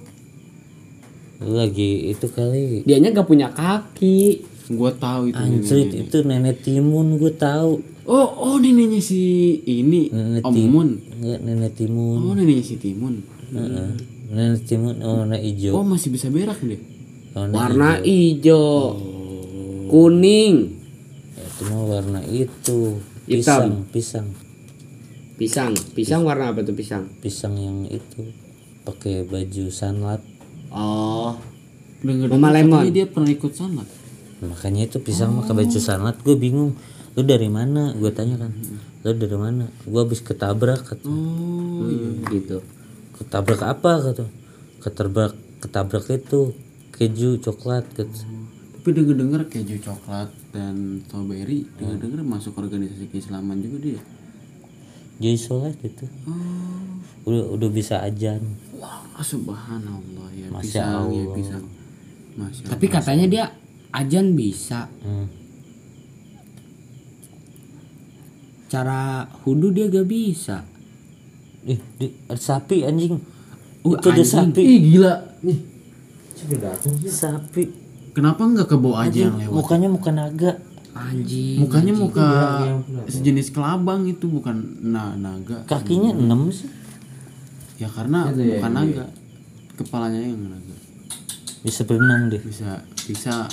S1: lu lagi itu kali
S4: dianya gak punya kaki.
S3: gua tahu itu
S1: anjrit itu nenek timun gue tahu
S3: Oh, oh neneknya si ini
S1: Nenek
S3: Om
S1: Tim.
S3: Mun.
S1: enggak nenek timun
S3: Oh, neneknya si Timun.
S1: Heeh. nenek timun warna
S3: Oh,
S1: hijau
S3: masih bisa berak deh.
S1: warna,
S4: Warna hijau, Oh. kuning,
S1: itu mah warna itu
S4: Hitam.
S1: pisang pisang
S4: pisang. Pisang warna apa tuh pisang?
S1: pisang yang itu pakai baju sunlight
S4: Oh,
S3: Dengar
S4: Mama Lemon.
S3: dia pernah ikut sunlight.
S1: makanya itu
S3: Oh.
S1: pisang pakai baju sunlight gue bingung lu dari mana gue tanya kan lu dari mana gue habis ketabrak kata.
S3: Oh, iya.
S4: gitu.
S1: ketabrak apa kata ketabrak ketabrak itu keju coklat kata
S3: Tapi denger-denger keju coklat dan strawberry, denger-denger masuk organisasi keislaman juga dia. Oh.
S1: jadi sholat gitu udah udah bisa ajan
S3: Wah, subhanallah ya.
S1: Masya
S3: pisang ya,
S1: Allah.
S3: pisang. Masya
S4: Tapi katanya dia ajan bisa.
S1: Hmm.
S4: Cara hudu dia gak bisa.
S1: Ih, di, ada sapi anjing.
S3: Oh,
S1: Uh, itu ada
S3: anjing.
S1: sapi.
S3: Ih, gila. Nih,
S1: Sapi.
S3: kenapa nggak ke bawah aja yang lewat?
S1: Mukanya muka naga.
S4: Anjing.
S3: Mukanya muka sejenis kelabang itu bukan na naga.
S1: Kakinya enam sih.
S3: Ya karena bukan naga. Kepalanya yang naga.
S1: Bisa berenang deh.
S3: Bisa bisa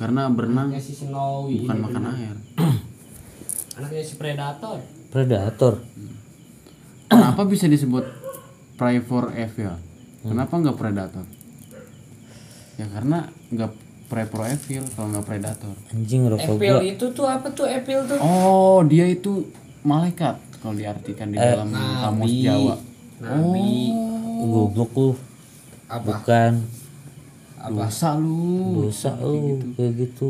S3: karena berenang
S4: si Snowy.
S3: bukan makan air.
S4: Anaknya si Predator.
S1: Predator.
S3: Kenapa bisa disebut prey for evil? Kenapa nggak predator? Ya karena nggak prey for evil kalau nggak predator.
S1: Anjing rokok gua.
S4: itu tuh apa tuh Epil tuh?
S3: Oh, dia itu malaikat kalau diartikan di dalam kamus Jawa.
S4: Oh.
S1: Goblok lu. Bukan
S3: Dosa lu.
S1: dosa lu kayak gitu.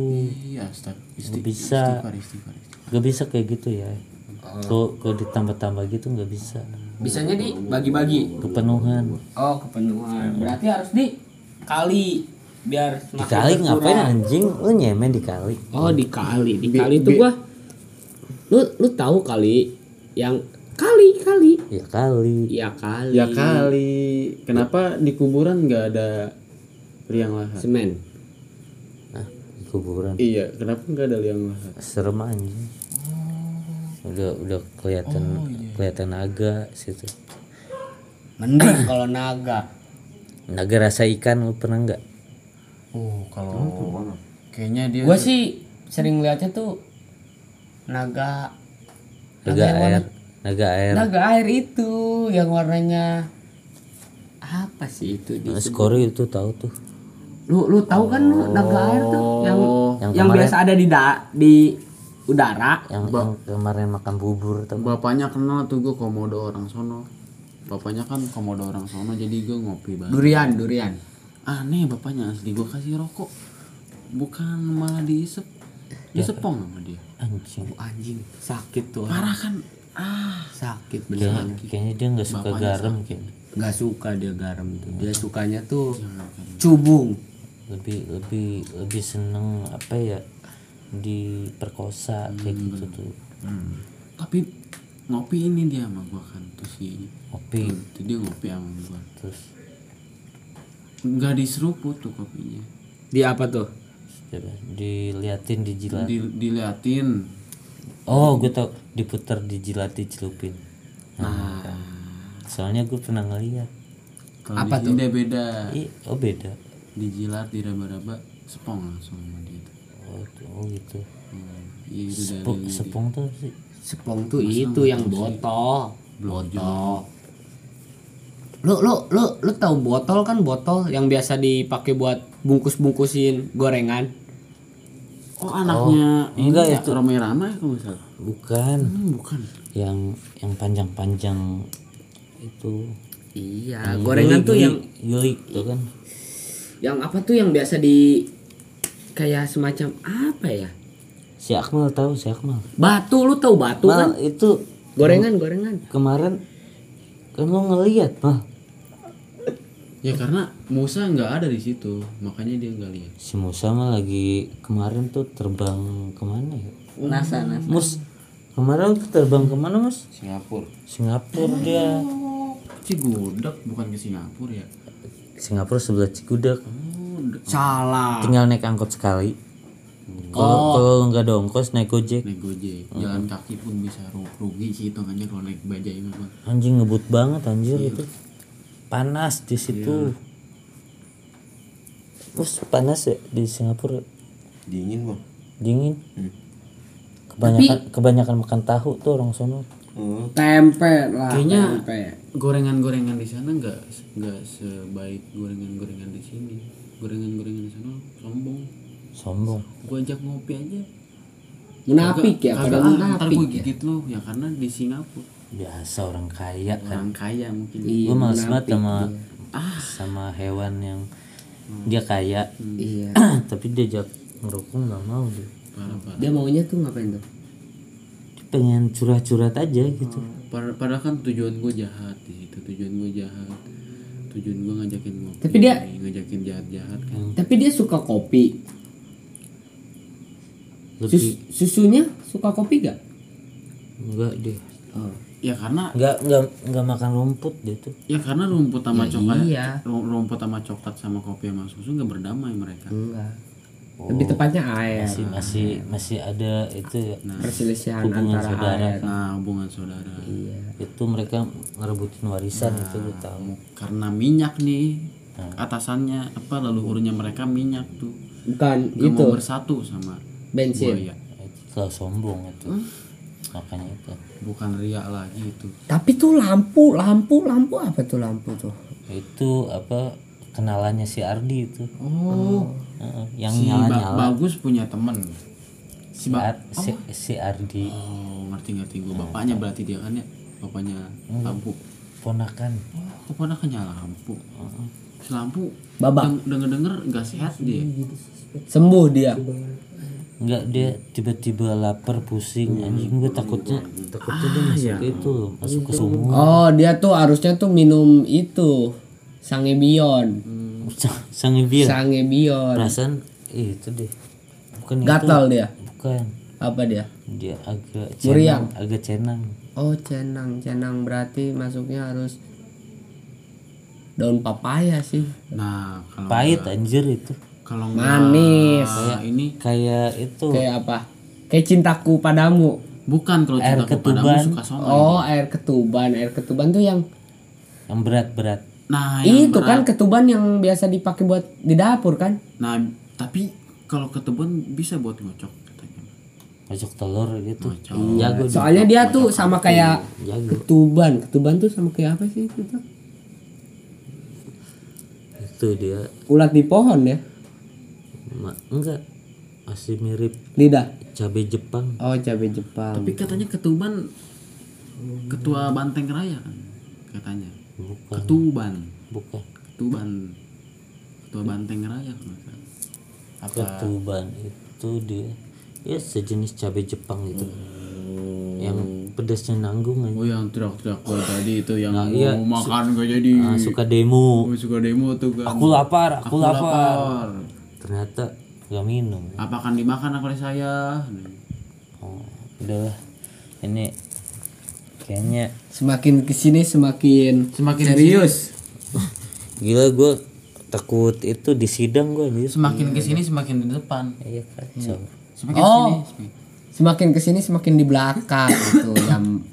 S3: Iya, stop.
S1: Nggak bisa.
S3: Istighfar, istighfar, istighfar.
S1: Gak bisa kayak gitu ya.
S3: Oh.
S1: Kalau kalau ditambah-tambah gitu nggak bisa.
S4: Bisanya dibagi-bagi.
S1: Kepenuhan.
S4: Oh, kepenuhan. Berarti harus di kali biar semakin
S1: Dikali
S4: berkurang.
S1: ngapain anjing? Lu nyemen dikali.
S4: Oh, dikali. Dikali tuh gua lu lu tahu kali yang kali kali.
S1: Ya kali.
S4: Iya kali.
S3: Ya kali. Kenapa di kuburan nggak ada liang lahat?
S4: Semen.
S1: Nah, di kuburan.
S3: Iya, kenapa nggak ada liang lahat?
S1: serem anjing udah udah kelihatan kelihatan naga situ
S4: Mending kalau naga.
S1: naga rasa ikan lu pernah nggak
S3: Oh, kalau kayaknya dia
S4: Gua sih sering lihatnya tuh naga
S1: naga air naga air
S4: naga air itu yang warnanya apa sih itu di
S1: skori itu tahu tuh
S4: lu lu tahu kan lu naga air tuh yang yang,
S1: kemarin-
S4: biasa ada di da, di udara
S1: yang, yang kemarin makan bubur tuh
S3: bapaknya kenal tuh gue komodo orang sono. Bapaknya kan komodo orang sono jadi gue ngopi banget.
S4: durian durian
S3: Aneh bapaknya asli gue kasih rokok. Bukan malah diisep. Disepong sama dia.
S1: anjing
S4: anjing sakit tuh
S3: Parah kan. Ah,
S4: sakit
S1: kayaknya,
S4: beneran
S1: kayaknya dia nggak suka garam kayaknya
S4: nggak suka dia garam tuh dia sukanya tuh cubung
S1: lebih lebih lebih seneng Hmm. apa ya diperkosa kayak gitu tuh
S3: tapi ngopi ini dia sama gua kan terus si
S1: Ngopi.
S3: itu dia ngopi sama gua
S1: terus
S3: nggak diseruput tuh kopinya
S4: Di apa tuh?
S1: coba diliatin dijilat
S3: Di, diliatin
S1: oh gue tau diputar dijilat dicelupin nah, soalnya gue pernah ngeliat
S3: kalau di sini dia beda
S1: Ih, oh beda
S3: dijilat diraba-raba sepong langsung sama dia tuh.
S1: oh, tuh, oh gitu
S3: Hmm, iya itu dari
S1: Sepo- sepong tuh apa sih
S4: Sepong tuh itu yang botol. Botol. Lu lu lu lu tahu botol kan botol yang biasa dipakai buat bungkus-bungkusin gorengan.
S3: oh anaknya ini
S1: enggak
S3: ya, Romai Rama ya kalau nggak salah
S1: bukan
S3: hmm, bukan
S1: yang yang panjang-panjang itu
S4: Iya, gorengan tuh yang
S1: yuli tuh kan
S4: yang apa tuh yang biasa di kayak semacam apa ya?
S1: si Akmal tahu si Akmal
S4: Batu lu tahu batu
S1: Mal,
S4: kan?
S1: itu
S4: Gorengan, gorengan.
S1: kemarin kan lo ngeliat mah
S3: ya karena Musa nggak ada di situ makanya dia nggak lihat
S1: si Musa mah lagi kemarin tuh terbang kemana ya
S2: Nasa, nasa.
S1: Mus kemarin tuh terbang kemana Mus
S3: Singapura
S1: Singapura dia
S3: Cigudak bukan ke Singapura ya
S1: Singapura sebelah Cikudak
S4: Salah.
S1: tinggal naik angkot sekali kalau kalau lo nggak ada ongkos naik gojek
S3: naik gojek ya. jalan kaki pun bisa ru- rugi sih hitungannya kalau naik bajaj mah Bang.
S1: anjing ngebut banget anjir itu panas di situ Mus panas ya di Singapura
S5: dingin bang
S1: dingin kebanyakan kebanyakan makan tahu tuh orang sono
S5: oh,
S4: Tempe lah.
S3: Hmm. Kayaknya-
S4: tempe.
S3: gorengan-gorengan di sana nggak nggak sebaik gorengan-gorengan di sini gorengan-gorengan di sana sombong
S1: sombong
S3: gua ajak ngopi aja
S4: Munafik ya,
S3: kagak
S4: pada
S3: ah, ntar
S4: munafik.
S3: gua gigit lu ya karena di Singapura
S1: biasa orang kaya kan
S3: orang kaya mungkin
S4: Iya,
S1: gue males banget sama sama hewan yang dia kaya
S4: Iya.
S1: tapi diajak ngerokok nggak mau dia
S3: parah parah
S4: Dia maunya tuh ngapain tuh?
S1: Dia pengen curhat-curhat aja gitu
S3: Par- padahal kan tujuan gue jahat di situ tujuan gue jahat tujuan gue ngajakin ngopi
S4: Tapi dia-
S3: ngajakin jahat jahat kan
S4: Tapi dia suka kopi.
S1: lebih
S4: Sus- susunya suka kopi gak?
S1: enggak dia
S3: ya karena
S1: enggak enggak enggak makan rumput dia tuh
S3: ya karena rumput sama coklat
S4: iya.
S3: ru- rumput sama coklat sama kopi sama susu nggak berdamai mereka
S4: Enggak. Lebih tepatnya air.
S1: masih masih masih ada itu ya.
S4: Perselisihan
S1: Hubungan
S4: antara
S1: saudara.
S4: air.
S3: nah hubungan saudara
S4: Iya.
S1: itu mereka ngerebutin warisan itu gue tahu
S3: karena minyak nih atasannya apa leluhurnya mereka minyak tuh
S4: Bukan
S3: Nggak
S4: itu
S3: mau bersatu sama
S4: Gitu. bensin.
S3: buaya
S1: itu kalau sombong itu
S4: Hmm.
S1: makanya itu
S3: bukan riak lagi itu
S4: Tapi tuh lampu, lampu, lampu apa tuh lampu tuh?
S1: itu apa kenalannya si Ardi itu
S3: oh
S1: Heeh, yang
S3: si
S1: nyala
S3: Ba-
S1: nyala
S3: bagus punya temen
S1: si, Ar- si, si Ardi
S3: Oh, ngerti ngerti gue bapaknya berarti dia kan ya bapaknya lampu.
S1: ponakan
S3: Oh, keponakannya lampu. Si lampu
S4: Babak.
S3: denger denger nggak sehat dia.
S4: Iya, gitu Sembuh dia.
S1: nggak dia tiba-tiba lapar pusing anjing gue takutnya takutnya dia masuk ke itu loh, masuk ke sumur
S4: Oh, dia tuh harusnya tuh minum itu sangebion.
S1: Sang- sangi biar
S4: Sangebion.
S1: perasaan eh, itu deh bukan
S4: Gatal dia.
S1: itu bukan
S4: Apa dia?
S1: dia agak
S4: Muriang.
S1: cenang agak cenang
S4: Oh cenang, cenang berarti masuknya harus daun papaya sih.
S3: Nah kalau
S1: pahit anjir itu
S3: kalau
S4: Manis.
S3: nggak eh, ini
S1: kayak itu
S4: Kayak apa? Kayak cintaku padamu.
S3: bukan kalau cinta kepadamu
S1: ketuban.
S3: suka sombong.
S4: Oh air ketuban, air ketuban tuh yang,
S1: yang berat-berat
S3: Nah yang
S4: itu kan ketuban yang biasa dipakai buat di dapur kan?
S3: nah tapi kalau ketuban bisa buat ngocok katanya.
S1: masuk telur gitu jago dia.
S4: Soalnya dia tuh sama kayak
S1: jago
S4: ketuban, ketuban tuh sama kayak apa sih itu? tuh?
S1: itu dia
S4: Ulat di pohon ya,
S1: Ma- enggak masih mirip
S4: lidah.
S1: cabai Jepang
S4: Oh cabai Jepang.
S3: Tapi katanya ketuban ketua banteng raya kan katanya.
S1: bukan
S3: Ketuban,
S1: bukan
S3: ketuban, ketua banteng raya kan. Apa
S1: ketuban itu dia ya sejenis cabai Jepang gitu yang pedasnya nanggung aja
S3: Oh yang teriak-teriak gue tadi itu yang mau
S1: iya,
S3: makan gue jadi
S1: Ah, suka demo
S3: gue suka demo tuh kan.
S1: aku lapar aku, lapar.
S3: lapar.
S1: ternyata gak minum
S3: Apa akan dimakan oleh saya?
S1: oh, udahlah ini kayaknya
S4: Semakin kesini semakin
S3: Semakin
S4: serius.
S1: gila gue takut itu di sidang gue anjir
S3: Semakin kesini semakin di depan.
S1: iya kacau
S3: Iya, Semakin
S4: Oh.
S3: kesini.
S4: Semakin kesini semakin di belakang itu yang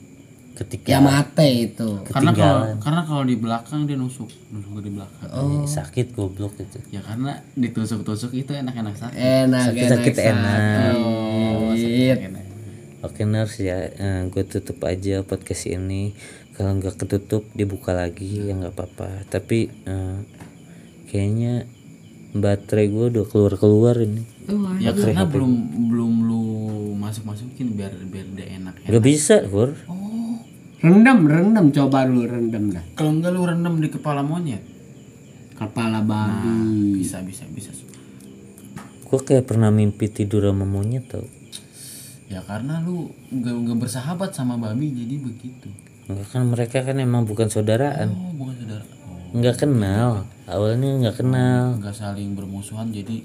S1: ketika
S4: yang mate itu.
S3: Karena kalau
S1: ketinggalan
S3: karena kalau di belakang dia nusuk, nusuk di belakang.
S1: Anjir, sakit goblok itu
S3: Ya karena ditusuk-tusuk itu enak-enak sakit.
S4: Enak
S1: Sakit- sakit enak.
S4: sakit.
S1: Oke nurse ya, gue tutup aja podcast ini. Kalau nggak ketutup dibuka lagi ya nggak apa-apa. Tapi eh, kayaknya baterai gue udah keluar keluar ini.
S3: Ya karena belum belum lu masuk-masukin biar biar dia enak. ya.
S1: Gak bisa, Pur.
S4: Rendam, rendam coba lu rendam dah.
S3: Oh. Kalau enggak lu rendam di kepala monyet. Nah,
S4: Kepala babi.
S3: Bisa bisa bisa.
S1: Gue kayak pernah mimpi tidur sama monyet tau.
S3: Ya karena lu enggak enggak bersahabat sama babi jadi begitu.
S1: Enggak kan mereka kan emang bukan saudaraan.
S3: Oh, bukan saudara. Oh,
S1: Nggak kenal. Awalnya nggak kenal.
S3: enggak saling bermusuhan jadi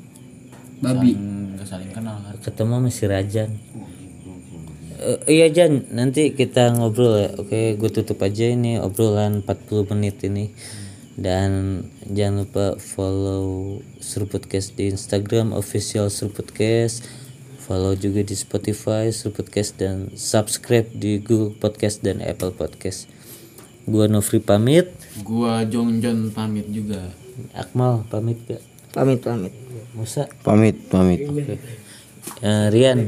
S4: Babi.
S3: saling- enggak saling kenal kan.
S1: Ketemu sama si Rajan. Eh, iya Jan, nanti kita ngobrol ya. Oke, gue tutup aja ini obrolan 40 menit ini. Dan jangan lupa follow Serpodcast di Instagram official Serpodcast. Follow juga di Spotify Serpodcast dan subscribe di Google Podcast dan Apple Podcast. Gua Nofri pamit,
S3: Gua Jongjon pamit juga.
S1: Akmal pamit gak?
S6: Pamit pamit.
S1: Musa,
S7: Pamit, pamit.
S1: Eh, Rian,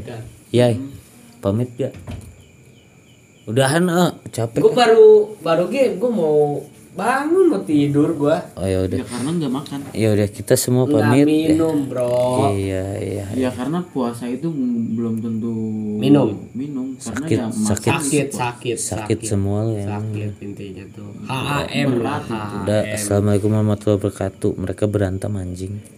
S1: Yai, pamit gak? Udahan eh, capek.
S4: Gue baru baru game, gue mau bangun mau tidur gue.
S1: Oh ya udah.
S3: Ya karena enggak makan.
S1: Ya udah kita semua
S4: Nggak
S1: pamit. ya.
S4: minum bro.
S1: Iya iya.
S3: Ya karena puasa itu belum tentu
S4: Minum.
S3: minum karena
S1: Sakit,
S3: ya makan
S1: sakit.
S4: Sakit, sakit,
S1: Sakit semua lu Iya. ya.
S4: sakit intinya tuh. HAM lah.
S1: Udah assalamualaikum warahmatullahi wabarakatuh. Mereka berantem anjing.